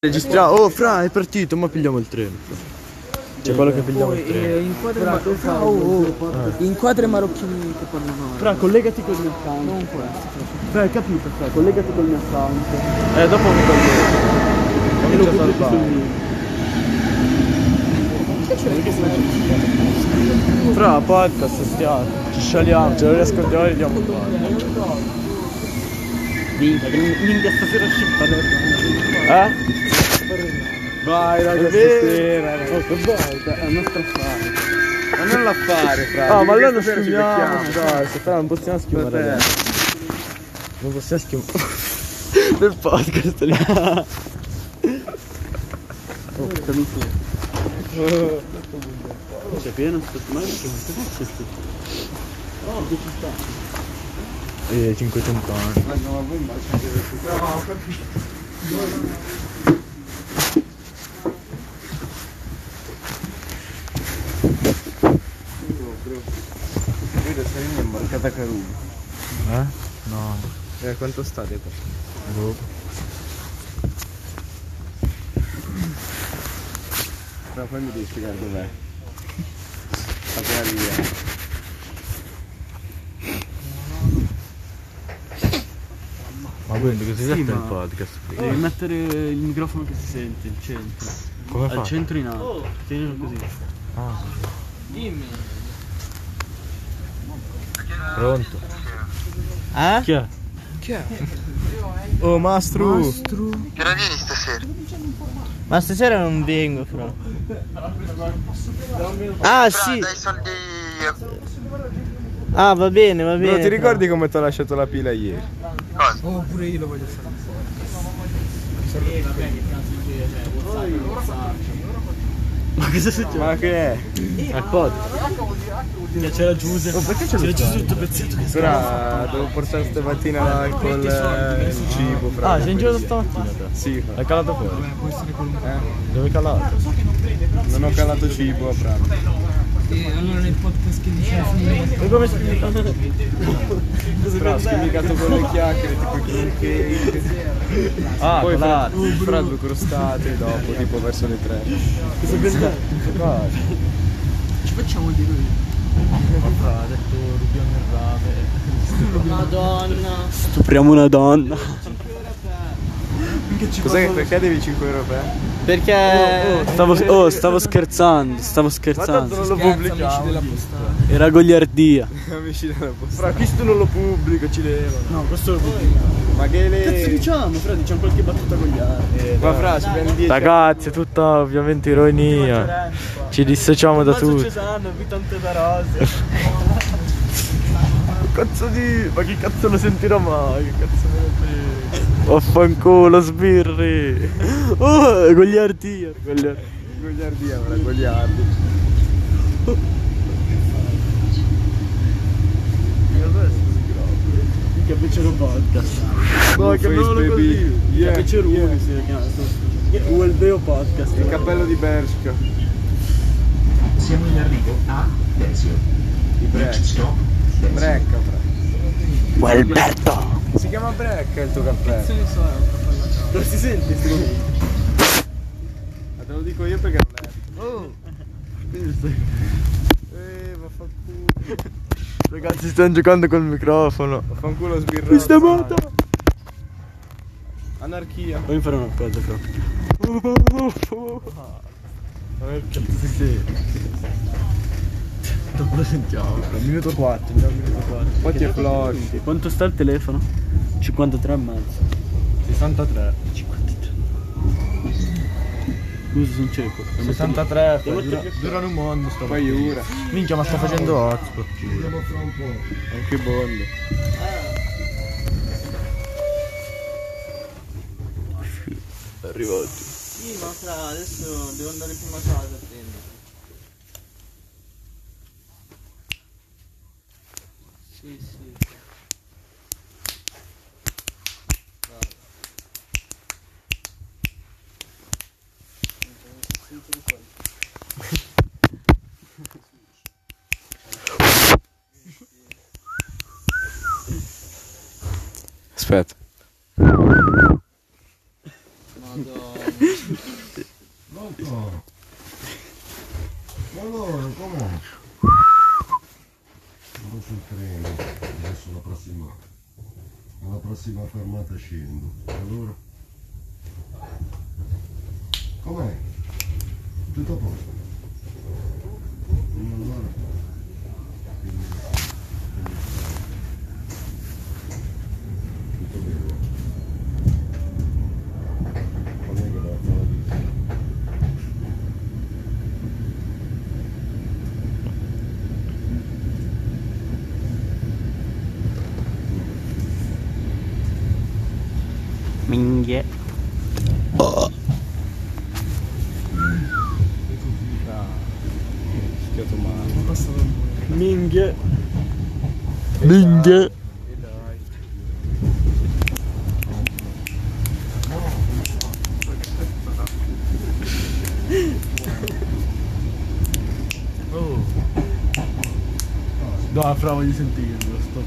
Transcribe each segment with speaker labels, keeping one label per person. Speaker 1: Registriamo. Oh, fra, è partito, ma pigliamo il treno. C'è quello che pigliamo il treno.
Speaker 2: eh,
Speaker 3: Inquadra, ma... fra, oh, oh. inquadra i marocchini che parlano male.
Speaker 2: Fra, collegati col mio account.
Speaker 3: Non questo.
Speaker 2: Fra, hai capito, fra, collegati col mio account.
Speaker 1: Eh, dopo mi togliete.
Speaker 2: E lo pubblico sul mio.
Speaker 1: Fra, podcast, stiamo. Ci scialiamo, ce lo riascoltiamo e vediamo qua.
Speaker 2: Minchia, che non- minchia stasera ci parleremo.
Speaker 1: Eh?
Speaker 2: Vai, raga,
Speaker 1: stasera, eh,
Speaker 2: Che volta, è un nostro affare.
Speaker 4: Ma non l'affare, fra.
Speaker 1: Ah, ma allora non
Speaker 4: Stasera ci
Speaker 1: schiumiamo.
Speaker 4: becchiamo.
Speaker 1: Dai, aspetta, non possiamo schiumare
Speaker 4: Vabbè.
Speaker 1: adesso. Non possiamo schiumare. Del podcast lì.
Speaker 2: C'è Cioè, pieno sto settimana? Oh,
Speaker 1: Eh, 500 anni.
Speaker 4: Vedo sei in imbarcata Caruba.
Speaker 1: Eh? No,
Speaker 4: Eh, quanto state qua?
Speaker 1: boh.
Speaker 4: Però poi mi devi spiegare dov'è. A quella via.
Speaker 1: Ma quindi così si
Speaker 2: Sì,
Speaker 1: fa il
Speaker 2: ma-
Speaker 1: podcast?
Speaker 2: Devi mettere il microfono che si sente, il centro.
Speaker 1: Come
Speaker 2: Al
Speaker 1: fa?
Speaker 2: centro in alto. Tienilo così.
Speaker 1: Ah. Dimmi. Pronto?
Speaker 4: Eh?
Speaker 2: Chi è?
Speaker 1: Oh, mastro.
Speaker 4: Ma stasera non vengo, fra. Ah, sì. Ah, va bene, va bene.
Speaker 5: Bro, ti ricordi come ti ho lasciato la pila ieri?
Speaker 1: Oh,
Speaker 2: Ma cosa succede?
Speaker 5: Ma che è?
Speaker 1: Al podcast.
Speaker 2: C'era Giuse. c'era Giuse tutto pezzetto che
Speaker 5: Fra, devo portare stamattina col eh, il cibo, fra.
Speaker 1: Ah, sei in giro stamattina te.
Speaker 5: Sì, fra.
Speaker 1: L'hai calato fuori? Dove calato?
Speaker 2: Eh?
Speaker 5: Non ho calato cibo, fra.
Speaker 3: allora nel podcast che dicevo
Speaker 2: E come si chiama?
Speaker 5: Fra, ho schimicato con le chiacchiere, tipo i pancake.
Speaker 1: Ah,
Speaker 5: Poi fra,
Speaker 1: calato.
Speaker 5: fra due crostate dopo, tipo verso le tre.
Speaker 2: Cosa cantare?
Speaker 3: ci facciamo di lui.
Speaker 2: Ha detto rubiamo il rame.
Speaker 3: Madonna.
Speaker 2: Stupriamo una donna.
Speaker 5: Cos'è che perché devi 5 euro per?
Speaker 4: Perché...
Speaker 2: Stavo, oh, stavo scherzando, stavo scherzando.
Speaker 5: lo
Speaker 3: Amici della postata.
Speaker 2: Era gogliardia.
Speaker 5: Amici della posta.
Speaker 1: Fra, questo non lo pubblico, ci levano.
Speaker 2: No, questo lo pubblico.
Speaker 5: Ma che
Speaker 2: Cazzo
Speaker 5: le... Eh,
Speaker 2: diciamo, fra, diciamo qualche battuta gogliare.
Speaker 5: Ma fra, ci prendi 10
Speaker 1: Ragazzi, è tutta ovviamente ironia. Ci dissociamo da tutto.
Speaker 2: Cesano, vitante da rosa.
Speaker 1: Cazzo di... Ma che cazzo lo sentirò mai? Che cazzo me ne frega? Vaffanculo, sbirri. Oh, gogliardia. gogliardia.
Speaker 5: gogliardia, fra, gogliardi.
Speaker 2: Che becero podcast.
Speaker 1: No,
Speaker 5: Blue
Speaker 1: chiamiamolo
Speaker 5: face,
Speaker 1: così.
Speaker 5: baby.
Speaker 2: Che
Speaker 5: Yeah,
Speaker 2: becero
Speaker 5: yeah.
Speaker 2: uno si chiama. ULB o podcast.
Speaker 5: Il cappello di Bershka.
Speaker 6: Siamo in arrivo a Dezio.
Speaker 5: Break.
Speaker 6: Stop.
Speaker 5: Brecca, fra.
Speaker 2: Gualberto.
Speaker 5: Si chiama Brecca il tuo cappello.
Speaker 2: Non si sente sto momento.
Speaker 5: Ma te lo dico io perché non è. Eh, vaffanculo.
Speaker 1: Ragazzi, stiamo giocando col microfono.
Speaker 5: Vaffanculo sbirrato.
Speaker 1: Questa volta.
Speaker 5: Anarchia.
Speaker 2: Voglio fare una cosa, fra. Dopo lo sentiamo.
Speaker 5: Minuto 4, già minuto 4. Poi ti flori.
Speaker 2: Quanto sta il telefono? 53 e mezzo.
Speaker 5: 63.
Speaker 2: 53. Scusa, sono cieco.
Speaker 1: 63,
Speaker 2: Devo metterli a-
Speaker 1: durano un mondo sto
Speaker 5: Poi Iura.
Speaker 1: Minchia, ma sta facendo hotspot.
Speaker 5: Anche Bondo.
Speaker 1: Arrivati.
Speaker 3: Sì, ma fra adesso devo andare in prima casa a prendere. Sì, sì.
Speaker 5: Aspetta.
Speaker 3: Madonna.
Speaker 7: Allora, come? Sono sul treno, adesso la prossima. Alla prossima fermata scendo. Allora? Com'è? Tutto a posto? Mm, Allora. Tutto bene. Non è che la- la-
Speaker 8: Minchia.
Speaker 4: Schiotto male.
Speaker 8: Minchia. Minchia.
Speaker 1: No, fra voglio sentire, sto...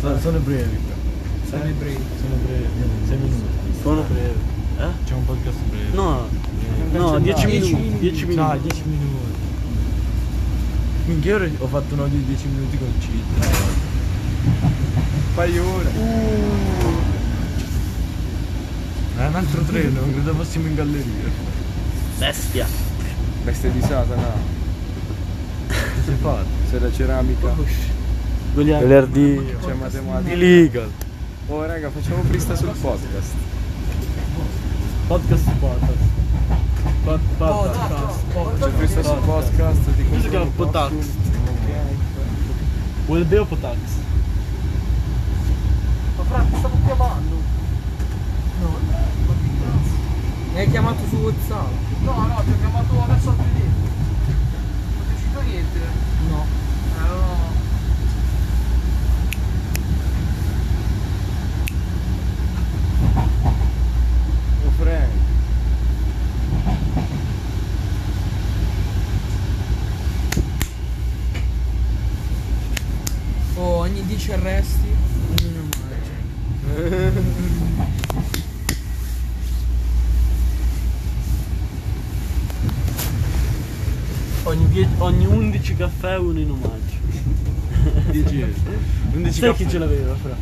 Speaker 1: Sono, sono brevi. Sono brevi. Sono brevi. Sei minuti.
Speaker 8: Sono
Speaker 1: brevi.
Speaker 8: Eh?
Speaker 1: C'è un podcast breve.
Speaker 8: No, no, 10 minuti. 10
Speaker 1: No,
Speaker 8: minuti.
Speaker 1: 10 minuti. Minchia, ora ho fatto un audio di 10 minuti con Cita.
Speaker 5: Paione.
Speaker 1: È Eh, un altro treno, credo fossimo in galleria.
Speaker 8: Bestia.
Speaker 5: Veste di Satana.
Speaker 1: Che si è fatto? Oh,
Speaker 5: C'è la ceramica.
Speaker 8: Gogliardi.
Speaker 5: C'è matematica.
Speaker 8: Illegal.
Speaker 5: Oh raga, facciamo prista sul podcast.
Speaker 1: Podcast podcast. Pod- Podcast.
Speaker 5: C'è prista sul podcast. Ti
Speaker 1: si chiama
Speaker 5: compro un
Speaker 1: Potax.
Speaker 5: costume.
Speaker 1: Vuol dire potax?
Speaker 3: Mi hai chiamato su WhatsApp? No,
Speaker 5: Oh Frank.
Speaker 3: no, Oh, ogni 10 arresti, ognuno mangia.
Speaker 8: Ogni, die- ogni 11 caffè uno in omaggio.
Speaker 1: 10 euro.
Speaker 8: Sai chi ce l'aveva fra?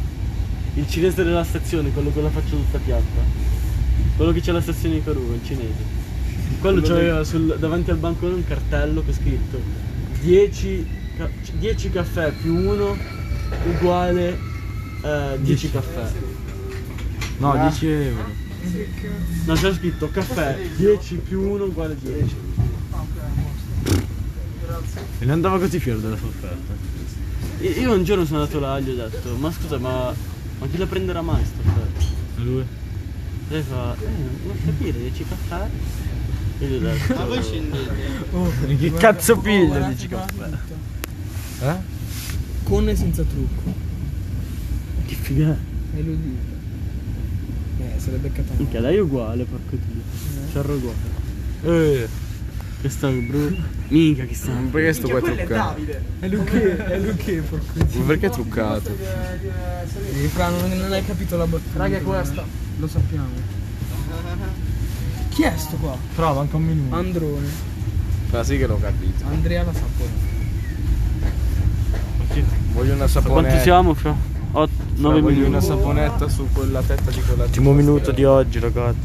Speaker 8: Il cinese della stazione, quello con la faccia tutta piatta. Quello che c'è alla stazione di Caruga, il cinese. Quello c'aveva sul- davanti al bancone un cartello che è scritto 10, ca- 10 caffè più uno uguale eh, 10 caffè. Ah.
Speaker 1: No, 10 euro.
Speaker 8: No, c'è scritto caffè 10 più 1 uguale 10.
Speaker 1: E ne andava così fiero della sua offerta.
Speaker 8: Io io un giorno sono andato là e gli ho detto, ma scusa, ma, ma chi la prenderà mai sta offerta?
Speaker 1: E lui?
Speaker 8: Lei fa, eh, non capire, 10 caffè? E gli ho detto, ma voi
Speaker 1: che cazzo
Speaker 3: Oh,
Speaker 1: piglia
Speaker 3: guardate
Speaker 1: 10
Speaker 3: qua
Speaker 1: caffè?
Speaker 3: tutto.
Speaker 1: Eh?
Speaker 3: Con e senza trucco.
Speaker 8: che figata.
Speaker 3: E lo dico. Eh, se l'è beccata male.
Speaker 8: Minchia, dai uguale, porco dio. C'è uguale.
Speaker 1: Eh.
Speaker 8: Che sta brutto. Minchia che sta.
Speaker 5: Ma
Speaker 1: Cioè,
Speaker 5: perché sto qua truccato?
Speaker 3: È lui che, è lui che, porco dio.
Speaker 5: Ma perché truccato?
Speaker 3: Eh, Fra, non, non hai capito la battuta. Raga, è questa. Lo sappiamo. Chi è sto qua?
Speaker 1: Fra, manca un minuto.
Speaker 3: Androne.
Speaker 5: Ma sì che l'ho capito.
Speaker 3: Andrea la sapone.
Speaker 5: Voglio una
Speaker 8: Quanti
Speaker 5: saponetta.
Speaker 8: siamo fra? 8, 9
Speaker 5: Voglio
Speaker 8: minuti.
Speaker 5: una saponetta su quella testa di quella
Speaker 8: Ultimo minuto di oggi, ragazzi.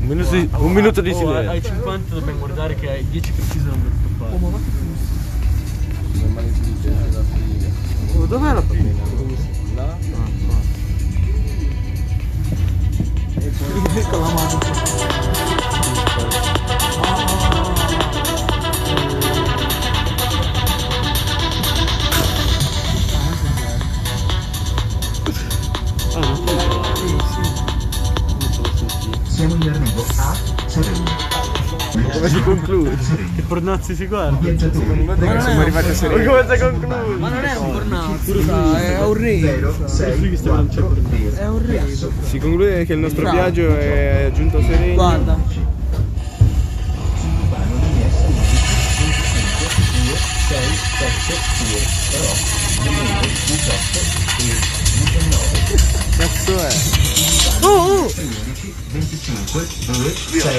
Speaker 8: Un minuto di, un minuto di
Speaker 1: Oh, Hai
Speaker 8: silenzio.
Speaker 1: 50 dobbiamo guardare che hai 10 precise da non fare.
Speaker 3: ma che
Speaker 8: Oh, dov'è la prima?
Speaker 5: Là?
Speaker 3: con la mano.
Speaker 8: Ah, non so.
Speaker 6: Siamo in arrivo a Salerno.
Speaker 8: Come si conclude? Che pornazzi si guarda?
Speaker 6: Viaggiatori
Speaker 5: Guarda che siamo arrivati a
Speaker 8: Ma
Speaker 5: Serena.
Speaker 8: come si conclude?
Speaker 3: Ma non è un pornazzo, fra, è un re.
Speaker 6: 0, 6,
Speaker 8: Questo non c'è
Speaker 6: 4,
Speaker 3: È un re.
Speaker 5: Si conclude che il nostro
Speaker 3: Bravo.
Speaker 5: viaggio è giunto a Serena.
Speaker 3: Guarda.
Speaker 6: Urbano di Est 11, 25, 2, 6, 7, 2, Ro, 19, 18 e 19,
Speaker 5: Cazzo è?
Speaker 6: 11, 25. 5, 2, 6,